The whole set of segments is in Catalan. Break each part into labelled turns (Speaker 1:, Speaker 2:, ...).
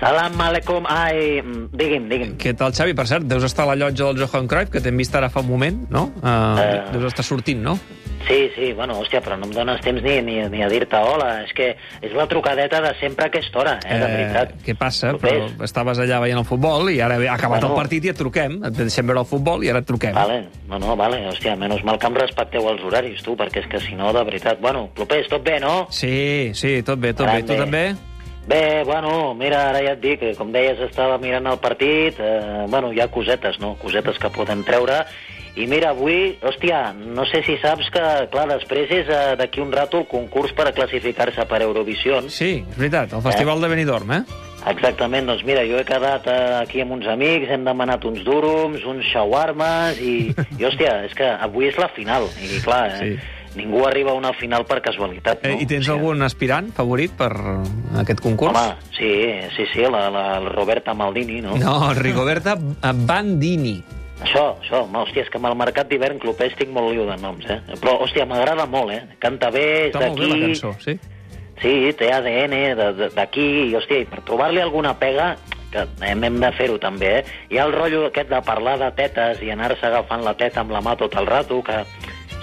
Speaker 1: Salam aleikum, ai... mm, Digui'm, digui'm.
Speaker 2: Què tal, Xavi? Per cert, deus estar a la llotja del Johan Cruyff, que t'hem vist ara fa un moment, no? Uh,
Speaker 1: Eh.
Speaker 2: Deus estar sortint, no?
Speaker 1: Sí, sí, bueno, hòstia, però no em dones temps ni, ni, ni a dir-te hola. És que és la trucadeta de sempre a aquesta hora, eh, de veritat.
Speaker 2: què passa?
Speaker 1: Propers.
Speaker 2: Però estaves allà veient el futbol i ara ha acabat
Speaker 1: Bueno.
Speaker 2: el partit i et truquem. Et deixem veure el futbol i ara et truquem.
Speaker 1: Vale, no, no, vale, hòstia, menys mal que em respecteu els horaris, tu, perquè és que si no, de veritat... Bueno, propers, tot bé, no?
Speaker 2: Sí, sí, tot bé, tot bé. Tu també?
Speaker 1: Grande. Bé, bueno, mira, ara ja et dic, eh, com deies, estava mirant el partit, eh, bueno, hi ha cosetes, no?, cosetes que podem treure, i mira, avui, hòstia, no sé si saps que, clar, després és eh, d'aquí un rato el concurs per a classificar-se per Eurovisió.
Speaker 2: Sí, és veritat, el Festival de Benidorm, eh?
Speaker 1: Exactament, doncs mira, jo he quedat eh, aquí amb uns amics, hem demanat uns durums, uns shawarmas, i, i hòstia, és que avui és la final, i clar, eh,
Speaker 2: Sí.
Speaker 1: ningú arriba a una final per casualitat,
Speaker 2: eh
Speaker 1: no?
Speaker 2: I
Speaker 1: O
Speaker 2: tens
Speaker 1: sigui,
Speaker 2: algun aspirant favorit per aquest concurs?
Speaker 1: Home, sí, sí, sí, la, la, la Roberta Maldini, no?
Speaker 2: No, Rigoberta Bandini.
Speaker 1: Això, això, home, hòstia, és que amb el mercat d'hivern club estic molt liu de noms, eh? Però, hòstia, m'agrada molt, eh? Canta bé, és
Speaker 2: Està molt bé la
Speaker 1: d'aquí...
Speaker 2: cançó, sí?
Speaker 1: Sí, té ADN de- de- d'aquí, i, hòstia, i per trobar-li alguna pega, que hem, hem de fer-ho també, eh? Hi ha el rotllo aquest de parlar de tetes i anar-se agafant la teta amb la mà tot el rato, que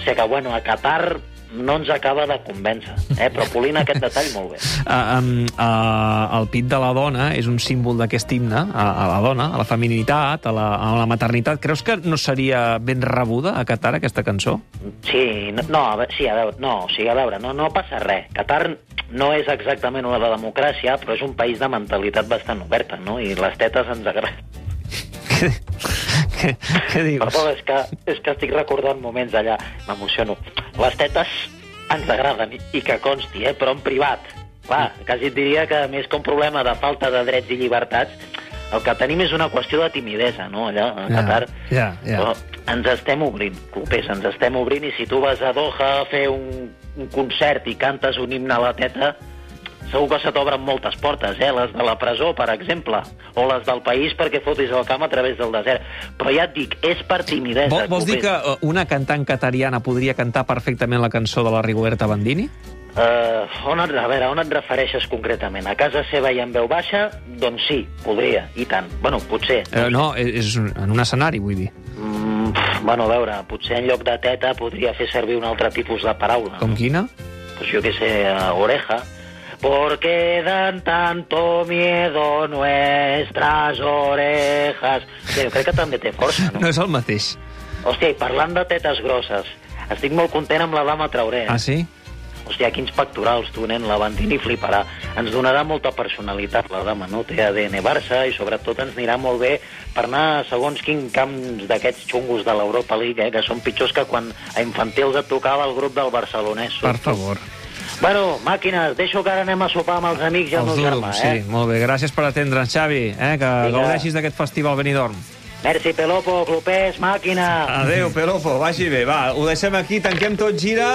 Speaker 1: sé que, bueno, a Qatar no ens acaba de convèncer, eh? Però polint aquest detall molt bé.
Speaker 2: Uh, um, uh, el pit de la dona és un símbol d'aquest himne, a, a la dona, a la feminitat, a la, a la maternitat. Creus que no seria ben rebuda a Qatar aquesta cançó?
Speaker 1: Sí, no, no, a ve- sí, a veure, no, o sigui, a veure, no, no passa res. Qatar no és exactament una de democràcia, però és un país de mentalitat bastant oberta, no? I les tetes ens agraden.
Speaker 2: què, què, què dius?
Speaker 1: Perdó, és que, és que estic recordant moments allà, m'emociono. Les tetes ens agraden, i- i que consti, eh? però en privat. Clar, quasi et diria que més que un problema de falta de drets i llibertats, el que tenim és una qüestió de timidesa, no?, allà, a
Speaker 2: Ja,
Speaker 1: Qatar.
Speaker 2: ja, ja.
Speaker 1: Però ens estem obrint, clubers, ens estem obrint, i si tu vas a Doha a fer un, un concert i cantes un himne a la teta, segur que se t'obren moltes portes, eh? les de la presó, per exemple, o les del país perquè fotis el camp a través del desert. Però ja et dic, és per timidesa.
Speaker 2: Vol, vols dir que
Speaker 1: clubers.
Speaker 2: eh, una cantant catariana podria cantar perfectament la cançó de la Rigoberta Bandini?
Speaker 1: Eh, on et, a veure, on et refereixes concretament? A casa seva i en veu baixa? Doncs sí, podria, i tant. Bueno, potser.
Speaker 2: Eh, no, és, és un- en un escenari, vull dir.
Speaker 1: Mm, pf, bueno, a veure, potser en lloc de teta podria fer servir un altre tipus de paraula.
Speaker 2: Com quina?
Speaker 1: Pues yo qué sé, a oreja. Porque dan tanto miedo nuestras orejas. Sí, jo crec que també té força, no?
Speaker 2: No és el mateix.
Speaker 1: Hòstia, i parlant de tetes grosses, estic molt content amb la dama Traoré.
Speaker 2: Ah, sí?
Speaker 1: Hòstia, quins pectorals, tu, nen, la Bandini fliparà. Ens donarà molta personalitat, la dama, no? Té ADN Barça i, sobretot, ens anirà molt bé per anar a segons quin camps d'aquests xungos de l'Europa League, eh, que són pitjors que quan a infantils et tocava el grup del barcelonès.
Speaker 2: Per favor.
Speaker 1: Bueno, màquines, deixo que ara anem a sopar amb els amics i el meu germà,
Speaker 2: Dulms,
Speaker 1: eh?
Speaker 2: sí. Molt bé, gràcies per atendre'ns, Xavi. Eh? Que
Speaker 1: Vinga.
Speaker 2: gaudeixis d'aquest festival Benidorm.
Speaker 1: Merci, Pelopo, clubers, màquina.
Speaker 2: Adéu, Pelofo, vagi bé. Va, ho deixem aquí, tanquem tot gira.